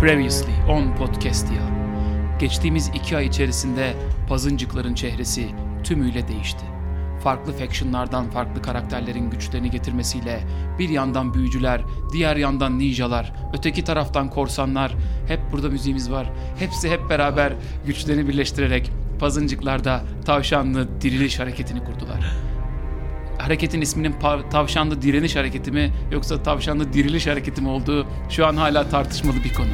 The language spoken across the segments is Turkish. Previously on Podcast ya. Geçtiğimiz iki ay içerisinde pazıncıkların çehresi tümüyle değişti. Farklı factionlardan farklı karakterlerin güçlerini getirmesiyle bir yandan büyücüler, diğer yandan ninjalar, öteki taraftan korsanlar, hep burada müziğimiz var. Hepsi hep beraber güçlerini birleştirerek pazıncıklarda tavşanlı diriliş hareketini kurdular hareketin isminin pa- tavşanlı direniş hareketi mi yoksa tavşanlı diriliş hareketi mi olduğu şu an hala tartışmalı bir konu.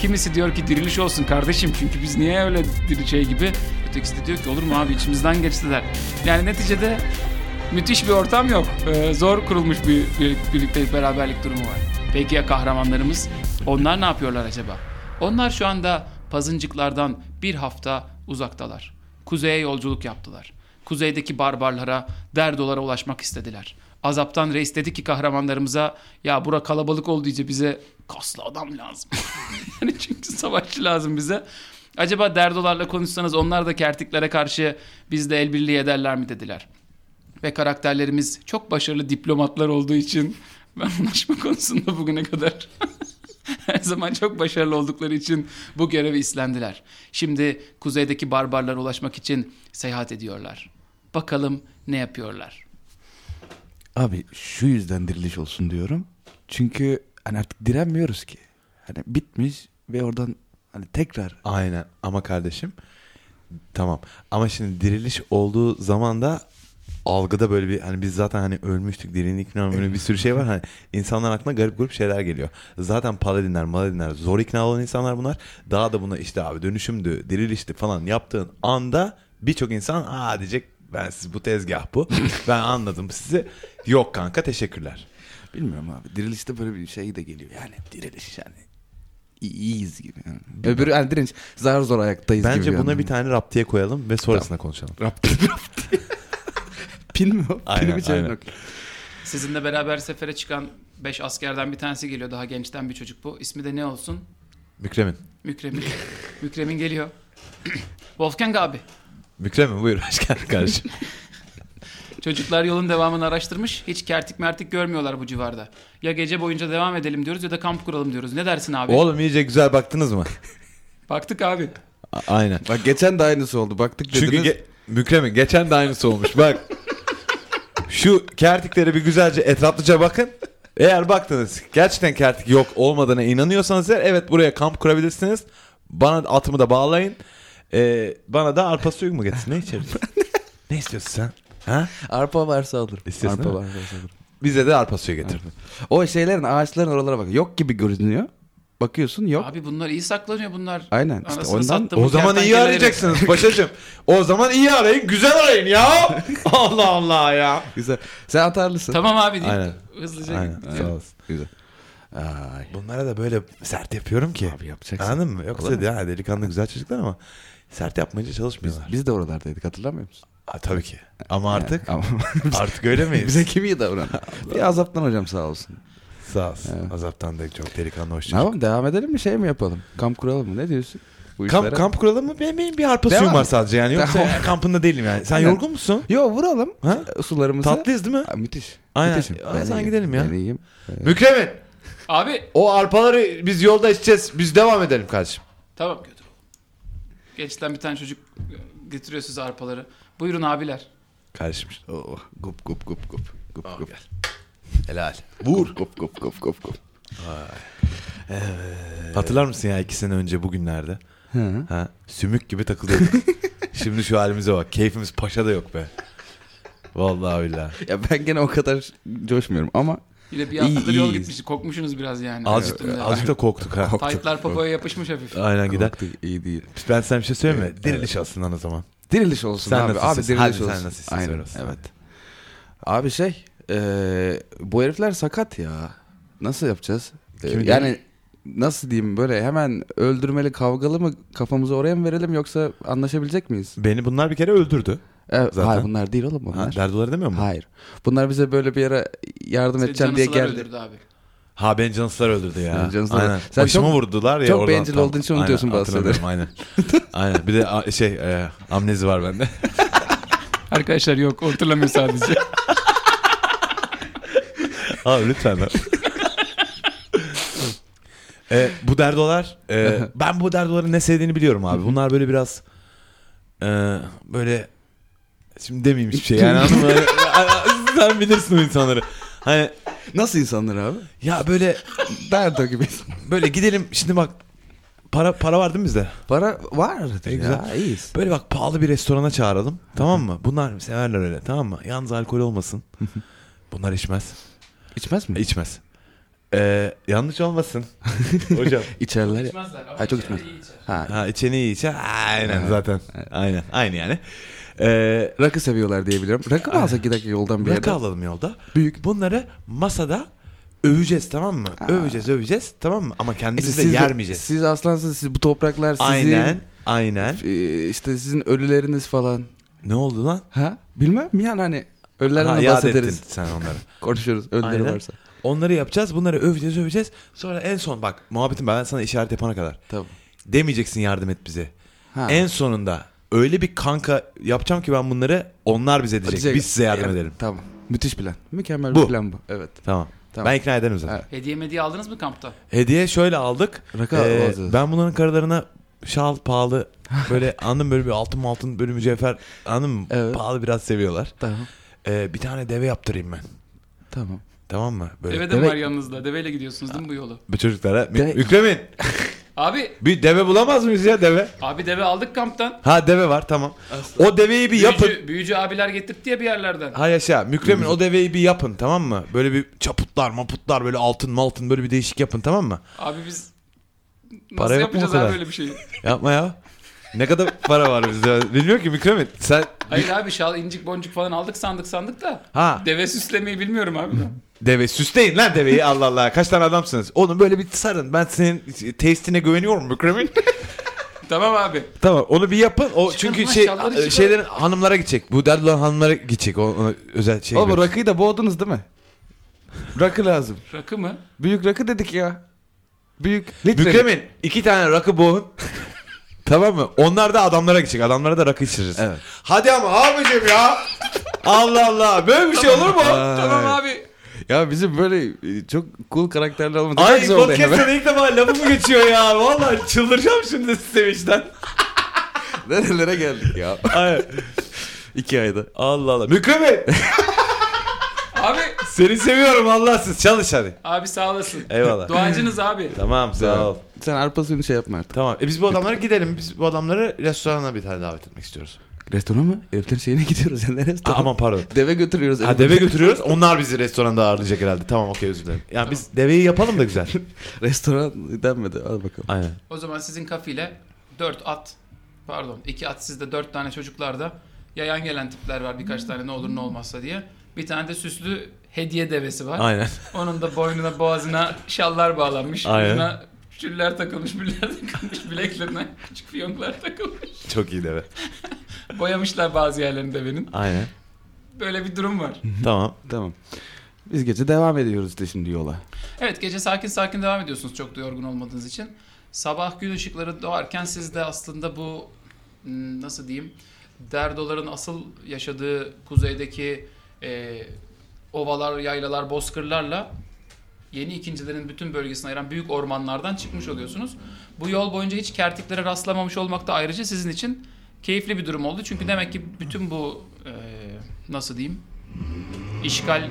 Kimisi diyor ki diriliş olsun kardeşim çünkü biz niye öyle diri şey gibi. Ötekisi de diyor ki olur mu abi içimizden geçtiler. Yani neticede müthiş bir ortam yok. Ee, zor kurulmuş bir bir- birliktelik beraberlik durumu var. Peki ya kahramanlarımız? Onlar ne yapıyorlar acaba? Onlar şu anda pazıncıklardan bir hafta uzaktalar. Kuzeye yolculuk yaptılar. Kuzeydeki barbarlara, derdolara ulaşmak istediler. Azaptan reis dedi ki kahramanlarımıza ya bura kalabalık oldu iyice bize kaslı adam lazım. yani çünkü savaşçı lazım bize. Acaba derdolarla konuşsanız onlar da kertiklere karşı biz de el birliği ederler mi dediler ve karakterlerimiz çok başarılı diplomatlar olduğu için ben anlaşma konusunda bugüne kadar her zaman çok başarılı oldukları için bu görevi üstlendiler. Şimdi kuzeydeki barbarlara ulaşmak için seyahat ediyorlar. Bakalım ne yapıyorlar. Abi şu yüzden diriliş olsun diyorum. Çünkü hani artık direnmiyoruz ki. Hani bitmiş ve oradan hani tekrar Aynen ama kardeşim tamam ama şimdi diriliş olduğu zaman da algıda böyle bir hani biz zaten hani ölmüştük dirildik falan böyle bir sürü şey var hani insanlar aklına garip grup şeyler geliyor. Zaten paladinler maladinler zor ikna olan insanlar bunlar daha da buna işte abi dönüşümdü dirilişti falan yaptığın anda birçok insan aa diyecek ben siz bu tezgah bu ben anladım sizi yok kanka teşekkürler. bilmiyorum abi. Dirilişte böyle bir şey de geliyor. Yani diriliş yani İyi- iyiyiz gibi. Yani. Öbürü yani direniş zar zor ayaktayız gibi. Bence buna yani. bir tane raptiye koyalım ve sonrasında konuşalım. Pin mi o? Aynen, Pini mi çevirin aynen. okey. Sizinle beraber sefere çıkan 5 askerden bir tanesi geliyor. Daha gençten bir çocuk bu. İsmi de ne olsun? Mükremin. Mükremin. Mükremin geliyor. Wolfgang abi. Mükremin buyur hoş geldin kardeşim. Çocuklar yolun devamını araştırmış. Hiç kertik mertik görmüyorlar bu civarda. Ya gece boyunca devam edelim diyoruz ya da kamp kuralım diyoruz. Ne dersin abi? Oğlum iyice güzel baktınız mı? Baktık abi. A- Aynen. Bak geçen de aynısı oldu. Baktık dediniz. Çünkü ge- Mükremin geçen de aynısı olmuş. Bak. Şu kertiklere bir güzelce etraflıca bakın. Eğer baktınız gerçekten kertik yok olmadığına inanıyorsanız eğer evet buraya kamp kurabilirsiniz. Bana atımı da bağlayın. Ee, bana da arpa suyu mu getirsin? Ne içeriz? ne istiyorsun sen? Ha? Arpa varsa alırım. İstesin Arpa mi? varsa alırım. Bize de arpa suyu getir. O şeylerin ağaçların oralara bak. Yok gibi görünüyor. Bakıyorsun yok. Abi bunlar iyi saklanıyor bunlar. Aynen, işte Anasını ondan- sattım O zaman iyi kertenkeleleri. arayacaksınız paşacığım. O zaman iyi arayın, güzel arayın ya. Allah Allah ya. Güzel. Sen atarlısın. Tamam abi deyip Aynen. hızlıca Aynen. gitti. Sağ olasın. Güzel. Ay. Bunlara da böyle sert yapıyorum ki. Abi yapacaksın. Anladın mı? Yoksa Olamaz. ya delikanlı güzel çocuklar ama sert yapmayınca çalışmıyorlar. Biz de oralardaydık hatırlamıyor musun? Ha, tabii ki. Ama artık Ama artık öyle miyiz? bize kim iyi davran? Bir azaptan hocam sağ olsun. Sağ olsun. Azaptan da çok delikanlı hoş Ne çocuk. yapalım devam edelim mi şey mi yapalım? Kamp kuralım mı ne diyorsun? Bu Kamp, işlere- kamp kuralım mı? Benim, benim bir harpa Devam. suyum var sadece yani. Yoksa Tamam. ya, kampında değilim yani. Sen Aynen. yorgun musun? Yo vuralım E, Ha? sularımızı. Tatlıyız değil mi? Aa, müthiş. Aynen. Müthişim. Aa, Ben sen iyiyim. gidelim ya. Ben iyiyim. Ee, Mükremin. Abi O arpaları biz yolda içeceğiz. Biz devam edelim kardeşim. tamam götür. Gençten bir tane çocuk getiriyor size arpaları. Buyurun abiler. Kardeşim. oh, gup gup gup gup. Gup Al gup. gel. Helal. Vur. Gup gup gup gup gup. e, Hatırlar mısın ya iki sene önce bugünlerde? Hı. Ha, sümük gibi takılıyorduk. Şimdi şu halimize bak. Keyfimiz paşa da yok be. Vallahi billahi. Ya ben gene o kadar coşmuyorum ama Yine bir İyi, haftadır yol iyiyiz. gitmiştik. Kokmuşsunuz biraz yani. Azıcık, Üstünde. azıcık da korktuk ha. Taytlar popoya yapışmış hafif. Aynen gider. Baktık iyi değil. Ben sana bir şey söyleyeyim mi? Diriliş aslında o zaman. Diriliş olsun Sen abi. nasıl abi istiyorsun? diriliş Hadi sen olsun. nasıl istiyorsun? Aynen, Söyle olsun. evet. Abi şey eee, bu herifler sakat ya. Nasıl yapacağız? Eee, Kimi yani nasıl diyeyim böyle hemen öldürmeli kavgalı mı kafamızı oraya mı verelim yoksa anlaşabilecek miyiz? Beni bunlar bir kere öldürdü. Evet, Zaten. Hayır bunlar değil oğlum Ha, bunlar. derdoları demiyor mu? hayır. Bunlar bize böyle bir yere yardım Size edeceğim diye canısılar geldi. öldürdü abi. Ha beni cansızlar öldürdü ya. Seni cansızlar- Aynen. Sen Başımı çok- vurdular ya çok oradan. bencil olduğun için Aynen, unutuyorsun bazı hatırlamıyorum, Aynen. aynen. Bir de a- şey e, amnezi var bende. Arkadaşlar yok hatırlamıyor sadece. Abi lütfen. lan. E, bu derdolar e, ben bu derdoların ne sevdiğini biliyorum abi. Bunlar böyle biraz e, böyle şimdi demeyeyim hiçbir şey yani anladın mı? Hani, Sen bilirsin o insanları. Hani Nasıl insanlar abi? ya böyle Derdo gibi. böyle gidelim şimdi bak para para var değil mi bizde? Para var. E, güzel. Ya, iyiyiz. Böyle bak pahalı bir restorana çağıralım. Tamam mı? Bunlar severler öyle. Tamam mı? Yalnız alkol olmasın. Bunlar içmez. İçmez mi? İçmez. Ee, yanlış olmasın. Hocam. İçerler ya. İçmezler ama Ha, çok içeride içmez. iyi içer. Ha. Ha içeni iyi içer. Aynen Evet. zaten. Aynen. Aynı yani. Ee, Rakı seviyorlar diye biliyorum. Rakı mı alsak iki dakika yoldan bir rakı yerde? alalım yolda. Büyük. Bunları masada öveceğiz tamam mı? Öveceğiz öveceğiz tamam mı? Ama E, kendimizi de siz de- yermeyeceğiz. Siz aslansınız. Siz bu topraklar sizin. Aynen. Aynen. e, işte sizin ölüleriniz falan. Ne oldu lan? Ha? Bilmem yani hani ölülerden Ha, de yad ettin bahsederiz. sen onları. Konuşuruz ölüleri Aynen. varsa. Onları yapacağız. Bunları öveceğiz öveceğiz. Sonra en son bak muhabbetim ben sana işaret yapana kadar. Tamam. Demeyeceksin yardım et bize. Ha. En sonunda öyle bir kanka yapacağım ki ben bunları onlar bize diyecek. Diyecek- Biz size yardım Yani, edelim. e, Tamam. Müthiş plan. Mükemmel Bu. bir plan bu. Evet. Tamam. Tamam. Ben ikna ederim zaten. Evet. Hediye medya aldınız mı kampta? Hediye şöyle aldık. Rakı Ee, alacağız. ben bunların karılarına şal pahalı böyle anladın böyle bir altın altın böyle mücevher anladın mı? Evet. Pahalı biraz seviyorlar. Tamam. Ee, bir tane deve yaptırayım ben. Tamam. Tamam mı? Böyle Deve de mi Deve- var yanınızda? Deveyle gidiyorsunuz değil mi bu yolu? bu çocuklara. Mü- Deve- Mükremin Abi, bir deve bulamaz mıyız ya deve? abi deve aldık kamptan. Ha deve var tamam. O deveyi bir yapın. Büyücü, büyücü abiler getirtti ya bir yerlerden. Ha yaşa. Mükremin o deveyi bir yapın tamam mı? Böyle bir çaputlar maputlar böyle altın maltın böyle bir değişik yapın tamam mı? Abi biz nasıl Para yok mu yapacağız o kadar? abi öyle bir şey? şeyi? Yapma ya. Ne kadar para var bizde? Bilmiyor ki Mükremin. Sen Hayır abi şal, incik boncuk falan aldık sandık sandık da. ha Deve süslemeyi bilmiyorum abi. ben. deve süsleyin lan deveyi Allah Allah. Kaç tane adamsınız? Onu böyle bir sarın. Ben senin testine güveniyorum Mükremin. tamam abi. tamam onu bir yapın. Çıkarın O çünkü lan şey şalları çıkarın. şeylerin hanımlara gidecek. Bu derdiler hanımlara gidecek. O, ona özel şey. Oğlum gibi. rakıyı da boğdunuz değil mi? Rakı lazım. Rakı mı? Büyük rakı dedik ya. Büyük. Litre. Mükremin iki tane rakı boğun. tamam mı? Onlar da adamlara gidecek. Adamlara da rakı içiririz. Evet. Hadi ama abicim ya. Allah Allah. Böyle bir şey olur mu? tamam abi. Ya bizim böyle e, çok cool karakterler olmadı. Ay Güzel oldu yani. podcast'ta ilk defa lafım geçiyor ya. Vallahi çıldıracağım şimdi sevinçten. Nerelere geldik ya. Ay, İki ayda. Allah Allah. Mükremin Abi. seni seviyorum Allahsız. Çalış hadi. Abi sağ olasın. Eyvallah. Duacınız abi. Tamam sağ ol. Sen arpa suyunu şey yapma artık. Tamam. E biz bu adamlara gidelim. Biz bu adamları restorana bir tane davet etmek istiyoruz. Restorana mı? Heriflerin şeyine gidiyoruz. Yani Aa, restoran. aman pardon. Deve götürüyoruz. Ha deve götürüyoruz. Onlar bizi restoranda ağırlayacak herhalde. Tamam okey özür dilerim. Yani biz deveyi yapalım da güzel. Restoran denmedi. Al bakalım. Aynen. O zaman sizin kafiyle 4 at pardon 2 at sizde 4 tane çocuklarda yayan gelen tipler var birkaç tane ne olur ne olmazsa diye. Bir tane de süslü hediye devesi var. Aynen. Onun da boynuna boğazına şallar bağlanmış. Aynen. Ucuna şüller takılmış, müller takılmış, bileklerine küçük fiyonklar takılmış. Çok iyi deve. Boyamışlar bazı yerlerini devenin. Aynen. Böyle bir durum var. Tamam. Tamam. Biz gece devam ediyoruz işte şimdi yola. Evet gece sakin sakin devam ediyorsunuz çok da yorgun olmadığınız için. Sabah gün ışıkları doğarken siz de aslında bu hmm, nasıl diyeyim derdoların asıl yaşadığı kuzeydeki e, ovalar, yaylalar, bozkırlarla yeni ikincilerin bütün bölgesini ayıran büyük ormanlardan çıkmış oluyorsunuz. Bu yol boyunca hiç kertiklere rastlamamış olmak da ayrıca sizin için keyifli bir durum oldu. Çünkü demek ki bütün bu e, nasıl diyeyim işgal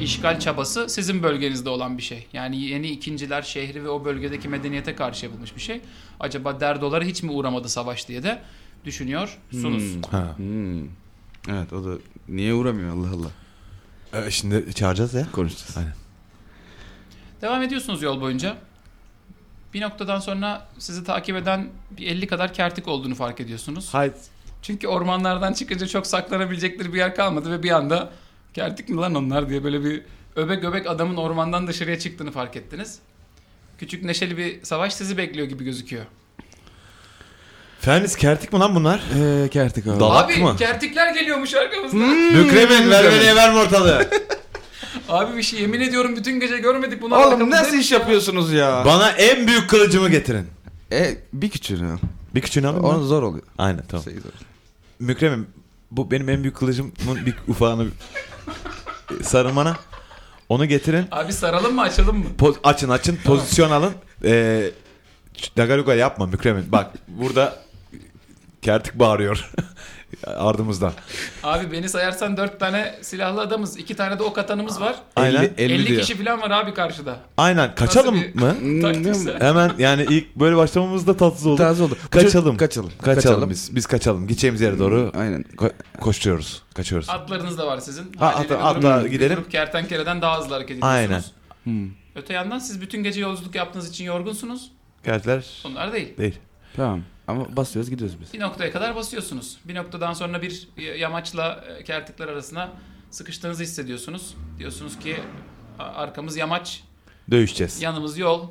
işgal çabası sizin bölgenizde olan bir şey. Yani yeni ikinciler şehri ve o bölgedeki medeniyete karşı yapılmış bir şey. Acaba derdolara hiç mi uğramadı savaş diye de düşünüyorsunuz. Ha. Hmm. Evet o da niye uğramıyor Allah Allah. Ee, şimdi çağıracağız ya. Konuşacağız. Aynen. Devam ediyorsunuz yol boyunca. Bir noktadan sonra sizi takip eden bir 50 kadar kertik olduğunu fark ediyorsunuz. Hayır. Çünkü ormanlardan çıkınca çok saklanabilecekleri bir yer kalmadı ve bir anda kertik mi lan onlar diye böyle bir öbek öbek adamın ormandan dışarıya çıktığını fark ettiniz. Küçük neşeli bir savaş sizi bekliyor gibi gözüküyor. Fernis kertik mi lan bunlar? Ee, kertik abi. Dal- Salak Abi mı? kertikler geliyormuş arkamızdan. Hmm. Mükremin ver beni verme ortalığı. Abi bir şey yemin ediyorum bütün gece görmedik bunu. Oğlum arkamızda nasıl hep- iş yapıyorsunuz ya? Bana en büyük kılıcımı getirin. E, bir küçüğünü al. Bir küçüğünü alın Onun zor oluyor. Aynen tamam. Şey zor. Mükremin bu benim en büyük kılıcımın bir ufağını sarın bana. Onu getirin. Abi saralım mı açalım mı? Po- açın açın pozisyon alın. Ee, ç- Dagaluga yapma Mükremin. Bak burada kertik bağırıyor ardımızdan. Abi beni sayarsan 4 tane silahlı adamız. 2 tane de ok atanımız var. Aynen 50, 50 50, diyor. Hmm, kişi falan var abi karşıda. e- Aynen kaçalım Nasıl bir- mı? Taktiksel. Hemen yani ilk böyle başlamamız da tatsız oldu. Tatsız oldu. Bu çocuk- Kaçalım. kaçalım. Kaçalım. Kaçalım. biz. Biz kaçalım. Gideceğimiz yere doğru Hmm, Aynen. ko- koşturuyoruz. Kaçıyoruz. Atlarınız da var sizin. Ha, Haliyle atla- bir grup- atla bir gidelim. grup kertenkeleden daha hızlı hareket ediyorsunuz. Aynen. Hmm. Öte yandan siz bütün gece yolculuk yaptığınız için yorgunsunuz. Kertler Onlar değil. değil. Tamam. Ama basıyoruz gidiyoruz biz. Bir noktaya kadar basıyorsunuz. Bir noktadan sonra bir yamaçla e, kertikler arasına sıkıştığınızı hissediyorsunuz. Diyorsunuz ki "A- arkamız yamaç, Dövüşeceğiz. yanımız yol,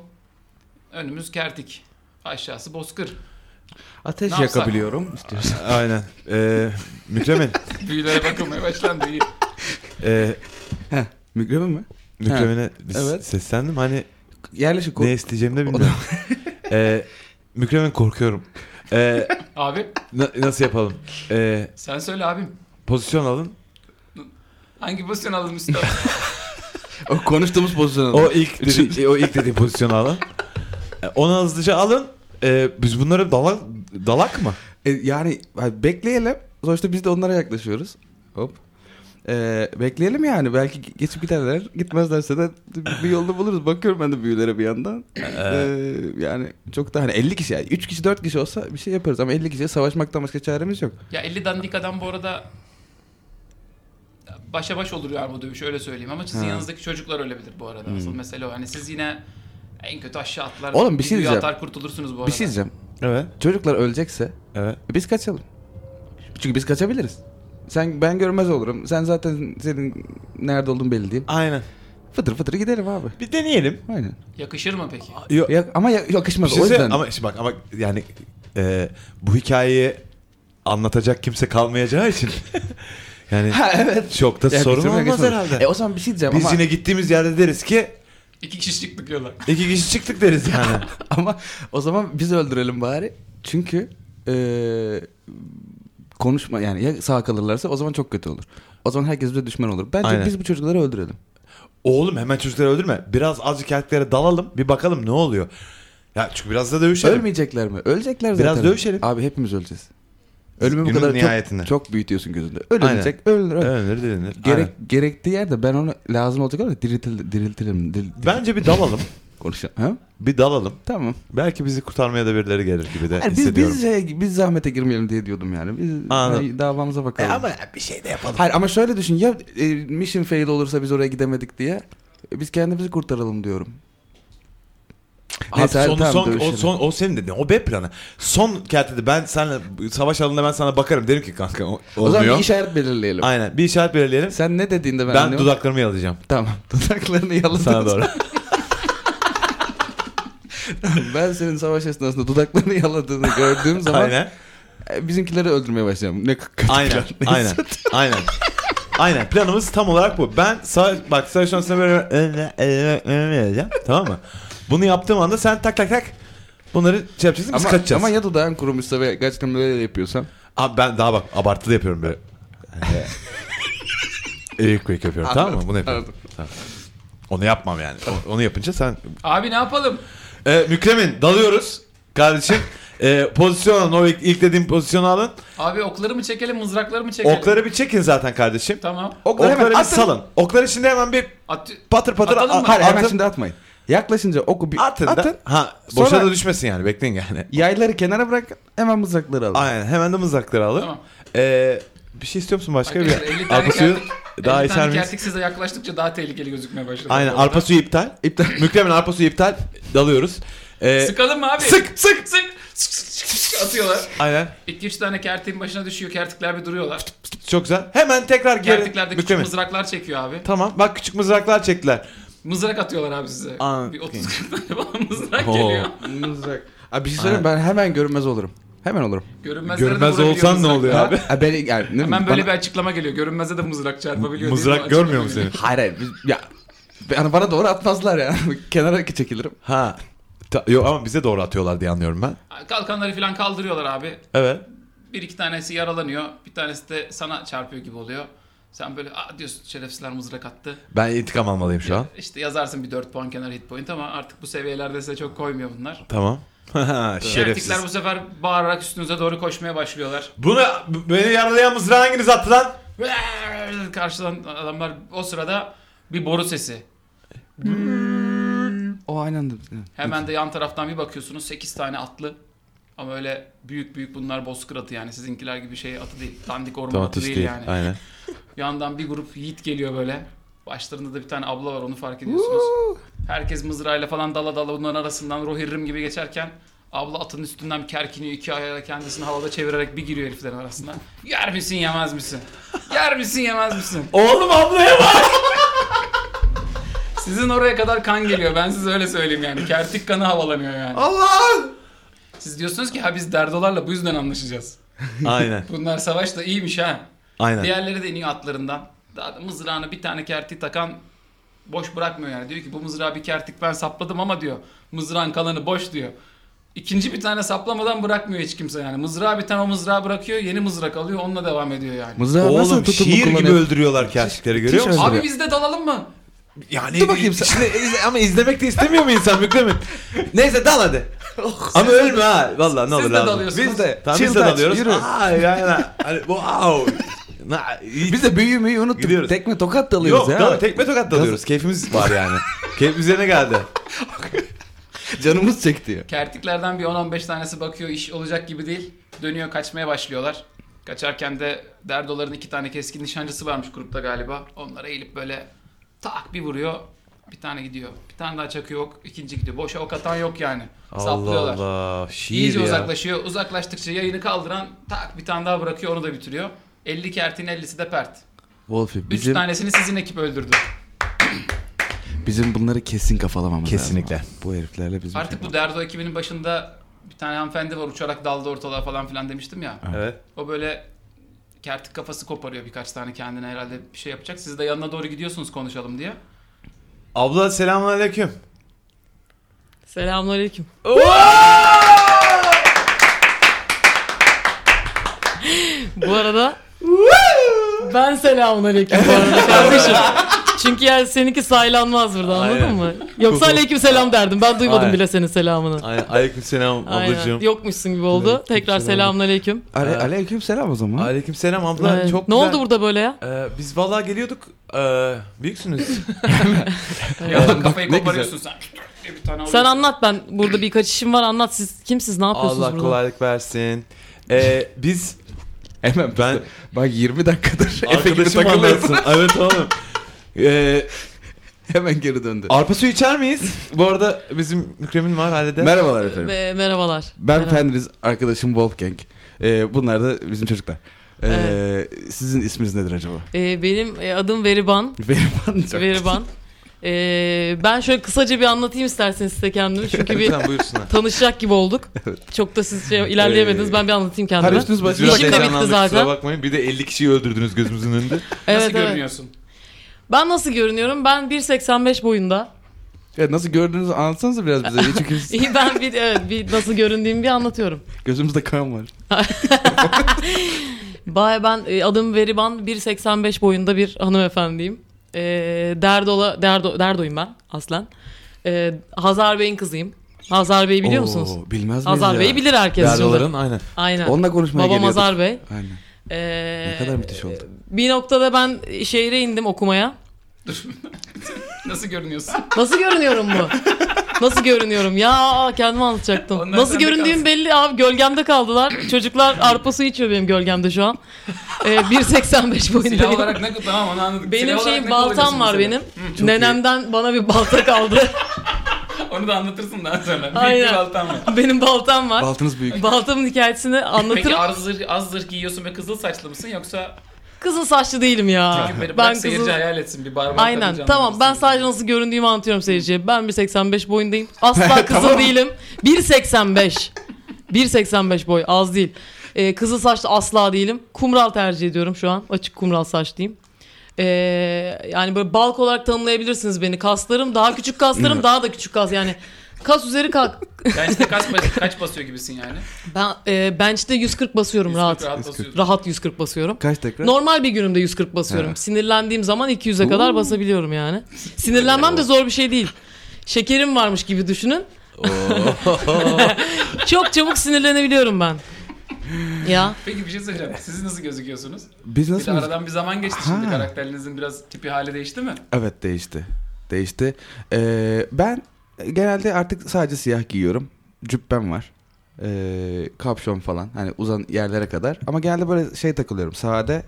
önümüz kertik, aşağısı bozkır. Ateş Ne yapsak? yakabiliyorum istiyorsan. Aynen. Ee, Mükremin. Büyülere bakılmaya başlandı. İyi. e, Mikrofon mu? Mükremin'e evet. seslendim. Hani Yerleşik ne isteyeceğimi de bilmiyorum. ee, Mükremin korkuyorum. Ee, Abi na- nasıl yapalım? Ee, sen söyle abim. pozisyon alın. Hangi pozisyon aldın üstad? o konuştuğumuz pozisyon. O ilk dediği, o ilk dediğim pozisyonu alın. Ee, Onu hızlıca alın. Ee, biz bunları dalak, dalak mı? E, yani hani bekleyelim. Sonuçta biz de onlara yaklaşıyoruz. Hop. E, bekleyelim yani. Belki geçip giderler. Gitmezlerse de bir yolunu buluruz. Bakıyorum ben de büyülere bir yandan. E, yani çok da hani 50 kişi yani. 3 kişi 4 kişi olsa bir şey yaparız. Ama 50 kişiye savaşmaktan başka çaremiz yok. ya 50 dandik adam bu arada başa baş olur yani bu dövüş öyle söyleyeyim. Ama sizin Ha. yanınızdaki çocuklar ölebilir bu arada. Asıl mesele o. Hani siz yine en kötü aşağı atlar. Hmm. Oğlum bir şey videoyu diyeceğim. Atar kurtulursunuz bu arada. Bir şey diyeceğim. Evet. Çocuklar ölecekse Evet. e, biz kaçalım. Çünkü biz kaçabiliriz. Sen ben görmez olurum. Sen zaten senin nerede olduğun belli değil. Aynen. Fıtır fıtır gidelim abi. Bir deneyelim. Aynen. Yakışır mı peki? Yok. Ya, ama ya- yakışmaz. Bir o şey yüzden. söyle- ama işte bak ama yani e, bu hikayeyi anlatacak kimse kalmayacağı için yani Ha evet. çok da Ya, sorun bizim olmaz yakışmadı. herhalde. E o zaman bir şey diyeceğim Biz ama, yine gittiğimiz yerde deriz ki İki kişi çıktık yola. iki kişi çıktık deriz yani. ama o zaman biz öldürelim bari. Çünkü e, konuşma yani ya sağ kalırlarsa o zaman çok kötü olur. O zaman herkes bize düşman olur. Bence Aynen. biz bu çocukları öldürelim. Oğlum hemen çocukları öldürme. Biraz azıcık erkeklere dalalım bir bakalım ne oluyor. Ya çünkü biraz da dövüşelim. Ölmeyecekler mi? Ölecekler zaten. Biraz dövüşelim. Abi hepimiz öleceğiz. Ölümü bu Günün kadar nihayetinde. çok, çok büyütüyorsun gözünde. Ölecek, ölür, ölür. Ölünür dilinir. Gerek, Aynen. gerektiği yerde ben onu lazım olacak olarak diriltil, diriltirim. Dil, dil, Bence bir dalalım. konuşalım. Ha? bir dalalım. Tamam. Belki bizi kurtarmaya da birileri gelir gibi de Hayır, biz, hissediyorum. biz, şey- biz zahmete girmeyelim diye diyordum yani. Biz Anladım. hani davamıza E bakalım. ama bir şey de yapalım. Hayır ama şöyle düşün ya e, mission fail olursa biz oraya gidemedik diye e, biz kendimizi kurtaralım diyorum. Neyse, Abi, son, tamam, son, o, dövüşelim. son, o senin dediğin o B planı. Son kertede ben senle savaş alanında ben sana bakarım derim ki kanka o- o zaman olmuyor. bir işaret belirleyelim. Aynen bir işaret belirleyelim. Sen ne dediğinde ben, Ben anlıyorum. dudaklarımı yalayacağım Tamam dudaklarını yaladın. sana doğru. ben senin savaş esnasında dudaklarını yaladığını gördüğüm zaman aynen. e, bizimkileri öldürmeye başlayacağım. Ne k- kötü Aynen. plan. Neyse. Aynen. Aynen. Aynen. Planımız tam olarak bu. Ben sağ, bak sağ şansına böyle yalayacağım. Tamam mı? Bunu yaptığım anda sen tak tak tak bunları şey yapacaksın biz Ama, kaçacağız. ama ya dudağın kurumuşsa ve gerçekten böyle yapıyorsan. Abi ben daha bak abartılı yapıyorum böyle. Eğik eğik yapıyorum tamam mı? Bunu yapıyorum. Anladım. Tamam. Onu yapmam yani. O- Onu yapınca sen... Abi ne yapalım? Ee, Mükremin dalıyoruz kardeşim. Ee, pozisyon alın. O ilk, ilk dediğim pozisyonu alın. Abi okları mı çekelim, mızrakları mı çekelim? Okları bir çekin zaten kardeşim. Tamam. Okları hemen Okları bir atın. salın. Okları şimdi hemen bir At- patır patır Atalım mı? a- Hayır hemen atın. şimdi atmayın. Yaklaşınca oku bir Atın, da- atın. Ha, boşa Sonra- da düşmesin yani bekleyin yani. Yayları kenara bırak hemen mızrakları al. Aynen hemen de mızrakları alın. Tamam. Ee, bir şey istiyor musun başka? Arkadaşlar, bir 50 tane arpa suyu kertik- daha 50 tane içer miyiz? kertik size yaklaştıkça daha tehlikeli gözükmeye başladı. Aynen arpa suyu iptal. İptal. Mükremin arpa suyu iptal. Dalıyoruz. Ee, Sıkalım mı abi? Sık, sık sık. Sık, sık, sık atıyorlar. Aynen. İki üç tane kertiğin başına düşüyor. Kertikler bir duruyorlar. Çok güzel. Hemen tekrar geri. Kertiklerde küçük Mükremin. mızraklar çekiyor abi. Tamam. Bak küçük mızraklar çektiler. Mızrak atıyorlar abi size. Aa, bir okey. 30-40 tane falan mızrak Oo. geliyor. Mızrak. Abi bir şey söyleyeyim ben hemen görünmez olurum. Hemen olurum. Görünmezlere de Görmez vurabiliyor olsan ne mızrak. oluyor abi? Ha, ben, yani, ne Hemen bileyim, böyle bir bana- açıklama geliyor. Görünmezde de mızrak çarpabiliyor. diye bir Mızrak açıklama görmüyor mu geliyor. seni? Hayır hayır. Biz, ya, yani bana doğru atmazlar ya. Kenara çekilirim. Ha. Ta- yok ama bize doğru atıyorlar diye anlıyorum ben. Kalkanları falan kaldırıyorlar abi. Evet. Bir iki tanesi yaralanıyor. Bir tanesi de sana çarpıyor gibi oluyor. Sen böyle Aa, diyorsun şerefsizler mızrak attı. Ben intikam almalıyım şu an. İşte yazarsın bir 4 puan kenar hit point ama artık bu seviyelerde size çok koymuyor bunlar. Tamam. Şerefsiz. Şerefsizler bu sefer bağırarak üstünüze doğru koşmaya başlıyorlar. Buna beni yaralayan mızrağı hanginiz attı lan? Karşıdan adamlar o sırada bir boru sesi. O aynı anda. Hemen de yan taraftan bir bakıyorsunuz 8 tane atlı. Ama öyle büyük büyük bunlar bozkır atı yani. Sizinkiler gibi şey atı değil. Dandik orman atı Domates değil, değil. yani. Aynen. Yandan bir grup yiğit geliyor böyle. Başlarında da bir tane abla var onu fark ediyorsunuz. Herkes mızrağıyla falan dala dala bunların arasından rohirrim gibi geçerken abla atın üstünden kerkini iki ayağıyla kendisini havada çevirerek bir giriyor heriflerin arasına. Yer misin yemez misin? Yer misin yemez misin? Oğlum ablaya bak. Sizin oraya kadar kan geliyor ben size öyle söyleyeyim yani. Kertik kanı havalanıyor yani. Allah'ım. Siz diyorsunuz ki ha biz derdolarla bu yüzden anlaşacağız. Aynen. Bunlar savaşta iyiymiş ha. Aynen. Diğerleri de iniyor atlarından. Daha da mızrağını bir tane kertik takan boş bırakmıyor yani. Diyor ki bu mızrağı bir kertik ben sapladım ama diyor mızrağın kalanı boş diyor. İkinci bir tane saplamadan bırakmıyor hiç kimse yani. Mızrağı bir tane o mızrağı bırakıyor yeni mızrak alıyor onunla devam ediyor yani. Mızrağı nasıl Oğlum tutup şiir gibi kullanıyor? öldürüyorlar kertikleri görüyor musun? Abi biz de dalalım mı? Yani Dur bakayım sen. Şimdi izle- ama izlemek de istemiyor mu insan Mükremin? Neyse dal hadi. ama ölme ha. Vallahi ne siz olur de lazım. dalıyorsunuz. Biz de. Tamam Chill biz de touch, dalıyoruz. yürü. Aa, yani, hani, wow. Na, Biz de büyümeyi unuttuk. Gidiyoruz. Tekme tokat dalıyoruz ya. Yok dal, tekme tokat dalıyoruz. Keyfimiz var yani. Keyfimiz yerine geldi. Canımız çekti ya. Kertiklerden bir 10-15 tanesi bakıyor iş olacak gibi değil. Dönüyor kaçmaya başlıyorlar. Kaçarken de Derdoların iki tane keskin nişancısı varmış grupta galiba. Onlara eğilip böyle tak bir vuruyor. Bir tane gidiyor. Bir tane daha çakıyor ok. ikinci gidiyor. Boşa ok atan yok yani. Saplıyorlar. Allah. Şiir İyice ya. uzaklaşıyor. Uzaklaştıkça yayını kaldıran tak bir tane daha bırakıyor. Onu da bitiriyor. 50 kertin 50'si de pert. Wolfie 3 bizim, tanesini sizin ekip öldürdü. bizim bunları kesin kafalamamız Kesinlikle. lazım. Bu heriflerle bizim... Artık bu Derdo ekibinin başında bir tane hanımefendi var uçarak daldı ortalığa falan filan demiştim ya. Evet. O böyle kertik kafası koparıyor birkaç tane kendine herhalde bir şey yapacak. Siz de yanına doğru gidiyorsunuz konuşalım diye. Abla selamünaleyküm. Selamünaleyküm. Bu arada ben selamünaleyküm bu arada kardeşim. Çünkü yani seninki saylanmaz burada anladın Aynen. mı? Yoksa aleyküm selam derdim. Ben duymadım Aynen. bile senin selamını. Aynen. Aleyküm selam Aynen. ablacığım. Yokmuşsun gibi oldu. Aleyküm Tekrar selam. selamünaleyküm. Ale- aleyküm selam o zaman. Aleyküm selam abla. Aynen. Çok ne güzel. oldu burada böyle ya? Ee, biz vallahi geliyorduk. Ee, büyüksünüz. Ya kafayı ne koparıyorsun sen. Diye Bir tane Sen oluyorsun. anlat ben burada birkaç işim var anlat siz kimsiz ne yapıyorsunuz Allah burada? kolaylık versin. Ee, biz Hemen ben... Ben- Bak 20 dakikadır Efe gibi arkadaşım takılıyorsun. anlatsın. evet oğlum. Ee, Hemen geri döndü. arpa suyu içer miyiz? Bu arada bizim Mükremin var halde. Merhabalar efendim. Ve- merhabalar. Ben Merhaba. Fenriz, arkadaşım Wolfgang. Ee, bunlar da bizim çocuklar. Ee, Sizin isminiz nedir acaba? Ee, benim e, adım Veriban. Veriban. çok- Veriban. Ee, ben şöyle kısaca bir anlatayım isterseniz size kendimi. Çünkü bir Lütfen buyursunlar. tanışacak gibi olduk. Çok da siz şey, ilerleyemediniz. Ee, Ben bir anlatayım Her kendimi. üstünüz Biz başınız. Biraz biraz Şimdi bitti heyecanlandık kusura zaten. bakmayın. Bir de 50 kişiyi öldürdünüz gözümüzün önünde. Evet, Nasıl evet. görünüyorsun? Ben nasıl görünüyorum? Ben 1.85 boyunda. Ya nasıl gördüğünüzü anlatsanıza biraz bize. Çünkü biz- İyi ben bir, evet, bir nasıl göründüğümü bir anlatıyorum. gözümüzde kan var. Baya ben e, adım Veriban 1.85 boyunda bir hanımefendiyim. E, Derdola, Derdo, Derdo'yum ben aslen. E, Hazar Bey'in kızıyım. Hazar Bey'i biliyor Oo, musunuz? Bilmez miyiz Hazar ya? Bey'i bilir herkes şimdi. Derdoların aynen. Aynen. Onunla konuşmaya Babam geliyorduk. Hazar Bey. Aynen. E, Ne kadar müthiş oldu. Bir noktada ben şehre indim okumaya. Nasıl görünüyorsun? Nasıl görünüyorum bu? Nasıl görünüyorum? Ya kendimi anlatacaktım. Onlar Nasıl sende göründüğüm kalsın. belli abi. Gölgemde kaldılar. Çocuklar arpa suyu içiyor benim gölgemde şu an. Ee, 1.85 boyunda. Silah benim- olarak ne Tamam onu anladık. benim Silah olarak şeyim ne kullanıyorsun baltam var mesela? benim. Nenemden bana bir balta kaldı. Onu da anlatırsın daha sonra. Büyük Aynen. bir baltam var. benim baltam var. Baltınız büyük. Baltamın hikayesini Peki anlatırım. az zırh, az zırh giyiyorsun ve kızıl saçlı mısın yoksa Kızın saçlı değilim ya. çünkü beni Ben bak kızıl... seyirci hayal etsin bir barbar Aynen kadın tamam ben canlandırırsın. sadece nasıl göründüğümü anlatıyorum seyirciye. Ben 1.85 boyundayım. Asla kızıl değilim. 1.85. 1.85 boy az değil. Ee, kızıl saçlı asla değilim. Kumral tercih ediyorum şu an. Açık kumral saçlıyım. Ee, yani böyle balk olarak tanımlayabilirsiniz beni. Kaslarım daha küçük kaslarım daha da küçük kas yani. Kas üzeri kalk. Bench'te kaç, bas- kaç basıyor gibisin yani? Ben e, bench'te 140 basıyorum rahat. Rahat basıyorsun. Rahat 140 basıyorum. Kaç tekrar? Normal bir günümde 140 basıyorum. He. Sinirlendiğim zaman 200'e kadar basabiliyorum yani. Sinirlenmem de zor bir şey değil. Şekerim varmış gibi düşünün. Çok çabuk sinirlenebiliyorum ben. Ya Peki bir şey söyleyeceğim. Siz nasıl gözüküyorsunuz? Biz Bir de nasıl? aradan bir zaman geçti şimdi. Ha. Karakterinizin biraz tipi hali değişti mi? Evet değişti. Değişti. Ee, ben genelde artık sadece siyah giyiyorum. Cübbem var. Ee, kapşon falan. Hani uzan yerlere kadar. Ama genelde böyle şey takılıyorum. Sade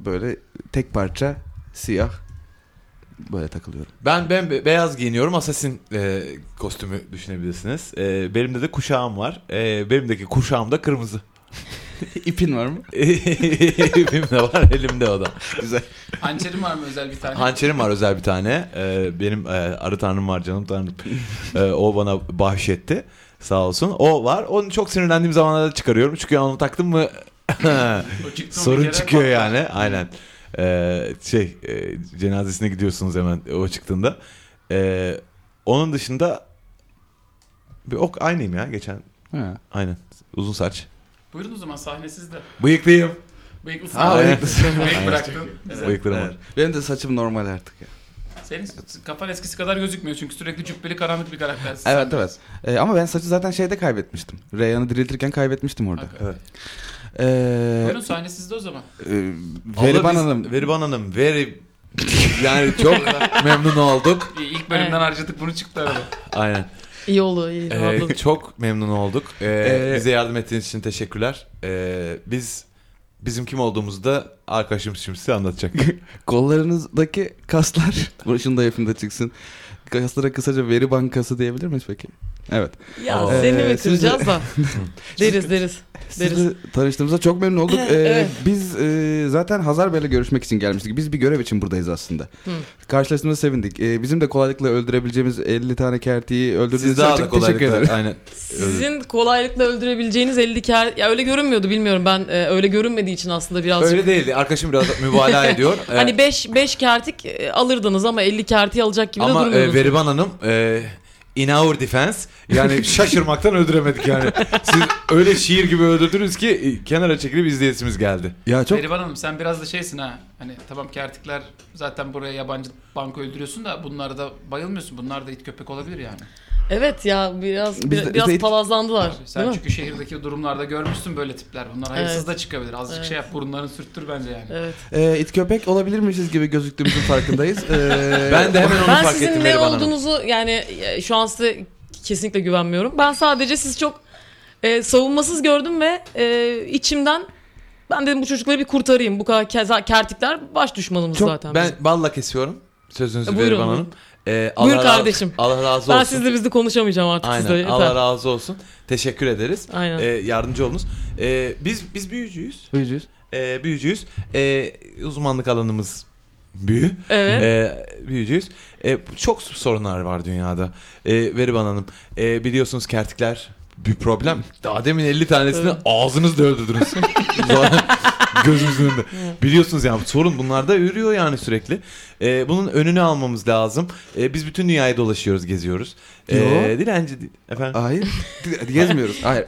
böyle tek parça siyah böyle takılıyorum. Ben ben be- beyaz giyiniyorum. Assassin e, kostümü düşünebilirsiniz. E, benim de kuşağım var. E, benimdeki kuşağım da kırmızı. İpin var mı? Benim de var elimde o da. Güzel. Hançerin var mı özel bir tane? Hançerim var özel bir tane. Ee, benim e, arı tanrım var canım tanrım. Ee, o bana bahşetti. Sağ olsun. O var. Onu çok sinirlendiğim zamanlarda çıkarıyorum. Çünkü onu taktım mı O çıktı mı bir sorun kere çıkıyor patlar. yani. Aynen. Ee, şey e, cenazesine gidiyorsunuz hemen o çıktığında. Ee, onun dışında bir ok aynıyım ya geçen. Ha. Aynen. Uzun saç. Buyurun o zaman sahnesiz de. Bıyıklıyım. Bıyık mısın? Ha, Aynen. Bıyık Aynen. bıraktın. Güzel. Bıyıklarım Evet. var. Benim de saçım normal artık ya. Senin kafan eskisi kadar gözükmüyor çünkü sürekli cübbeli karanlık bir karaktersin. Evet evet. Ee, ama ben saçı zaten şeyde kaybetmiştim. Reyhan'ı diriltirken kaybetmiştim orada. Hakikaten. Evet. Ee, Buyurun sahnesizde o zaman. e, Veriban Abla biz- Hanım. Veriban Hanım. Veri... Yani çok memnun olduk. İyi, İlk bölümden Evet. harcadık bunu çıktı arada. Aynen. iyi oldu. iyi Ee, rahatladım. çok memnun olduk. Ee, Ee, bize yardım ettiğiniz için teşekkürler. Ee, biz bizim kim olduğumuzu da arkadaşımız şimdi size anlatacak. Kollarınızdaki kaslar, buruşun da yapında çıksın. Kaslara kısaca veri bankası diyebilir miyiz peki? Evet. ya Ee, seni mi sizce- kıracağız da? deriz deriz. Sizinle tanıştığımıza çok memnun olduk. Ee, Evet. Biz e, zaten Hazar Bey'le görüşmek için gelmiştik. Biz bir görev için buradayız aslında. Hı. Karşılaştığımıza sevindik. Ee, bizim de kolaylıkla öldürebileceğimiz 50 tane kertiyi öldürdüğünüz Siz için daha da çok teşekkür kolaylıkla. ederim. Aynen. Sizin kolaylıkla öldürebileceğiniz 50 kar... Ya öyle görünmüyordu bilmiyorum ben. e, öyle görünmediği için aslında birazcık. Öyle değildi. Arkadaşım biraz mübalağa ediyor. Ee, Hani 5 5 kertik e, alırdınız ama 50 kerti alacak gibi de ama e, durmuyordunuz. Veriban Hanım e, in our defense yani şaşırmaktan öldüremedik yani. Siz öyle şiir gibi öldürdünüz ki e, kenara çekilip izleyesimiz geldi. Ya çok Berivan Hanım sen biraz da şeysin ha. Hani tamam kertikler zaten buraya yabancı banka öldürüyorsun da bunlar da bayılmıyorsun. Bunlar da it köpek olabilir yani. Evet ya biraz Biz bir- de- biraz biz de- palazlandılar. Abi, değil sen mi? çünkü şehirdeki durumlarda görmüşsün böyle tipler. Bunlar hayırsız da çıkabilir. Azıcık Evet. şey yap burunlarını sürttür bence yani. Evet. e, it köpek olabilirmişiz gibi gözüktüğümüzün farkındayız. Ee, Ben de hemen onu Ben fark ettim sizin ne Veriban Hanım. olduğunuzu yani e, şu an size kesinlikle güvenmiyorum. Ben sadece siz çok e, savunmasız gördüm ve e, içimden ben dedim bu çocukları bir kurtarayım. Bu kadar keza, kertikler baş düşmanımız Çok- zaten. ben bizim. balla kesiyorum. Sözünüzü E, Buyurun. Veriban Hanım. Ee, Buyur razı- kardeşim. Allah razı ben olsun. sizle bizle konuşamayacağım artık Aynen. sizle. yeter. Allah razı olsun. Teşekkür ederiz. Aynen. Ee, yardımcı olunuz. Ee, biz biz büyücüyüz. Buyurunuz. Ee, büyücüyüz. Ee, uzmanlık alanımız büyü. evet. Ee, büyücüyüz. Ee, çok sorunlar var dünyada. Ee, Veriban Hanım. ee, biliyorsunuz kertikler bir problem. Daha demin 50 tanesini Evet. ağzınızla öldürdünüz. Zaten Gözümüzün önünde. Biliyorsunuz yani sorun bunlarda yürüyor yani sürekli. Ee, bunun önünü almamız lazım. Ee, biz bütün dünyayı dolaşıyoruz, geziyoruz. Ee, Yo. dilenci değil. Efendim? Hayır. Gezmiyoruz. Hayır.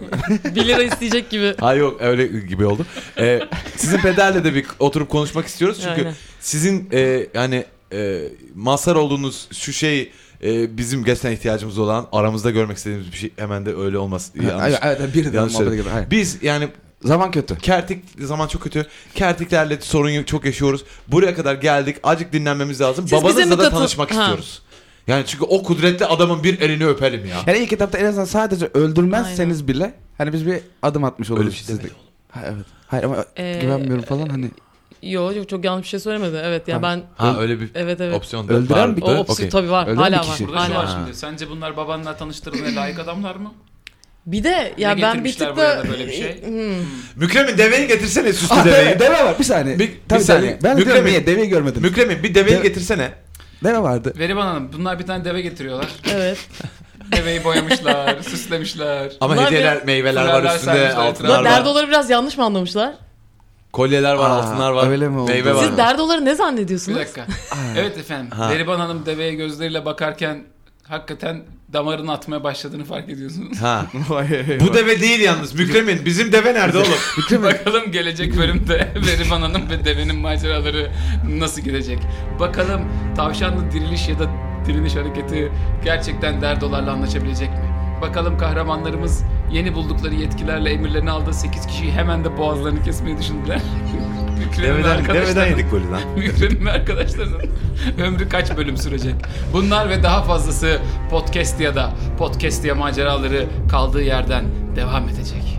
1 lira isteyecek gibi. Ha yok öyle gibi oldu. Ee, sizin pederle de bir oturup konuşmak istiyoruz çünkü Aynen. sizin e, yani e, mazhar olduğunuz şu şey e, bizim gerçekten ihtiyacımız olan aramızda görmek istediğimiz bir şey hemen de öyle olmaz. Yanlış. Hayır, evet, bir de Yanlış muhabbete söyledim. girdi. Hayır. Biz yani Zaman kötü. kertik zaman çok kötü. Kertiklerle sorun yok, çok yaşıyoruz. Buraya kadar geldik. Acık dinlenmemiz lazım. Siz bize mi Babanızla da katıl- tanışmak Ha. istiyoruz. Yani çünkü o kudretli adamın bir elini öpelim ya. Yani ilk etapta en azından sadece öldürmezseniz bile hani biz bir adım atmış oluruz. Öyle bir şey sizde. demedim. Ha, evet. Hayır ama Ee, güvenmiyorum falan hani. Yo çok, çok yanlış bir şey söylemedi. Evet ya Ha. ben Ha öyle bir evet evet. opsiyon da Öldüren var. bir- O Evet, opsiyon okey. tabii var. Öyle mi hala bir var. kişi? Burada şu Hala var var. şimdi. Sence bunlar babanla tanıştırılmaya layık adamlar mı? Bir de ya Ne ben bir getirmişler tık buraya da da böyle bir şey? Hmm. Mükremin deveyi getirsene süslü Ah, deveyi. deve, deve var bir saniye. Bir- bir Tabii deve. saniye. Ben de diyorum Mükremin. niye deveyi görmediniz. Mükremin bir deveyi Deve- getirsene. deve vardı. Veriban Hanım bunlar bir tane deve getiriyorlar. Evet. Deveyi boyamışlar, süslemişler. Ama Bunlar hediyeler, biraz- meyveler var Fularlar üstünde, sermişler altınlar etrafa. Ulan var. derdoları biraz yanlış mı anlamışlar? Kolyeler var, Aa, altınlar var. öyle mi oldu? Meyve var. Siz derdoları ne zannediyorsunuz? Bir dakika. evet efendim. Ha. Deriban Hanım deveye gözleriyle bakarken hakikaten damarın atmaya başladığını fark ediyorsunuz. Ha. Vay, Bu deve değil yalnız. Mükremin. Bizim deve nerede oğlum? Bakalım gelecek bölümde Verivan Hanım ve devenin maceraları nasıl gidecek? Bakalım tavşanlı diriliş ya da diriliş hareketi gerçekten derdolarla anlaşabilecek mi? Bakalım kahramanlarımız yeni buldukları yetkilerle emirlerini aldığı 8 kişiyi hemen de boğazlarını kesmeyi düşündüler. Mükremin Deveden, deveden arkadaşlarının- yedik golü lan. Mükremin arkadaşlarının ömrü kaç bölüm sürecek? Bunlar ve daha fazlası podcast ya da podcast ya maceraları kaldığı yerden devam edecek.